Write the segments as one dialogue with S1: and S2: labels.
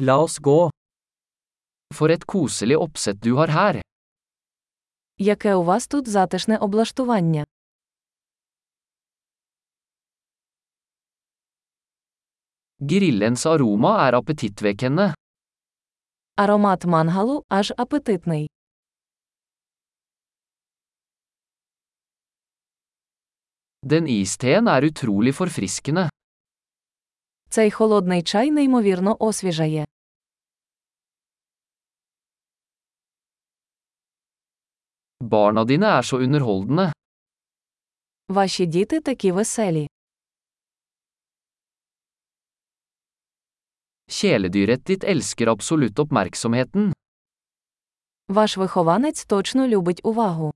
S1: La oss gå. For et koselig oppsett du har her.
S2: Яке у вас тут затишне облаштування?
S1: Grillens aroma er appetittvekkende.
S2: Аромат мангалу аж апетитний.
S1: Den isteen er utrolig forfriskende.
S2: Цей холодний чай неймовірно освіжає.
S1: Barna dine er så underholdende.
S2: Ваші діти такі веселі.
S1: Kjæledyret ditt elsker absolutt oppmerksomheten.
S2: Ваш вихованець точно любить увагу.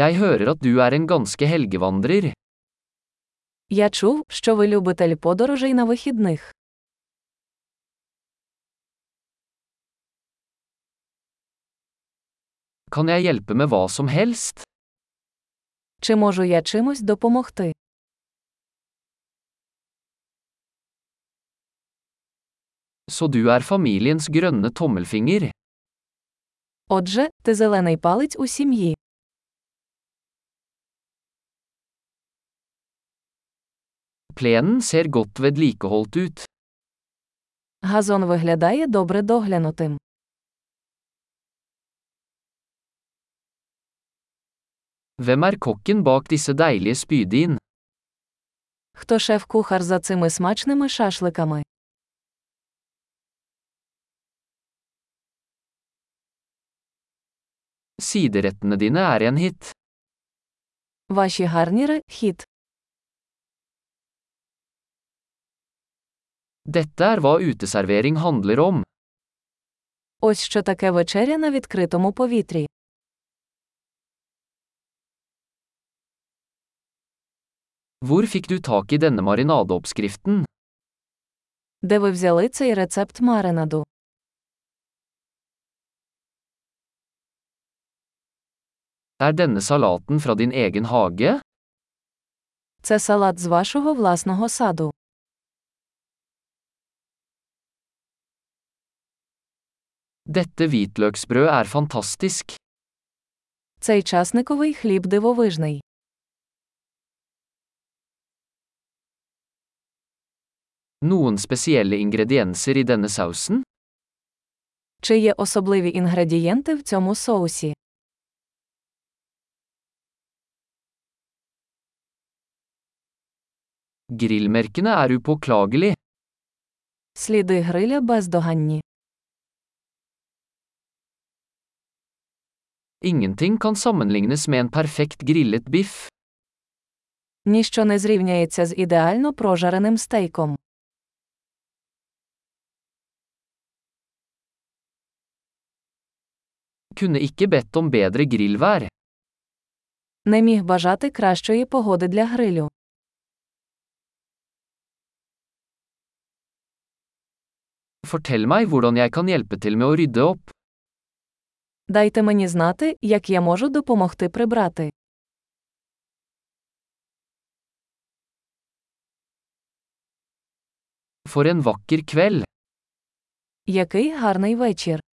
S1: Jeg hører at du er en ganske helgevandrer.
S2: Я чув, що ви любитель подорожей на вихідних.
S1: Kan jeg hjelpe med hva som helst?
S2: Чи можу я чимось допомогти?
S1: Så du er familiens grønne tommelfinger.
S2: Отже, ти зелений палець у сім'ї.
S1: Plenen ser godt vedlikeholdt ut.
S2: Газон виглядає добре доглянутим.
S1: Hvem er kokken bak disse deilige spydin?
S2: Хто шеф-кухар за цими смачними шашликами?
S1: Siderettene dine er en hit.
S2: Ваші гарніри хіт.
S1: Dette er hva uteservering handler om.
S2: Ось що таке вечеря на відкритому повітрі.
S1: Hvor fikk du tak i denne marinadeoppskriften?
S2: Де ви взяли цей рецепт маринаду?
S1: Er denne salaten fra din egen hage?
S2: Це салат з вашого власного саду.
S1: Dette hvitløksbrød er fantastisk.
S2: Цей часниковий хліб дивовижний.
S1: Noen spesielle ingredienser i denne sausen?
S2: Чи є особливі інгредієнти в цьому соусі?
S1: Grillmerkene er upåklagelig.
S2: Сліди гриля бездоганні.
S1: Ingenting kan sammenlignes med en perfekt grillet biff.
S2: Ніщо не зрівняється з ідеально прожареним стейком.
S1: Kunne ikke bedt om bedre grillvær.
S2: Не міг бажати кращої погоди для грилю.
S1: Fortell meg hvordan jeg kan hjelpe til med å rydde opp.
S2: Дайте мені знати, як я можу допомогти прибрати.
S1: For en vakker kveld.
S2: Який гарний вечір!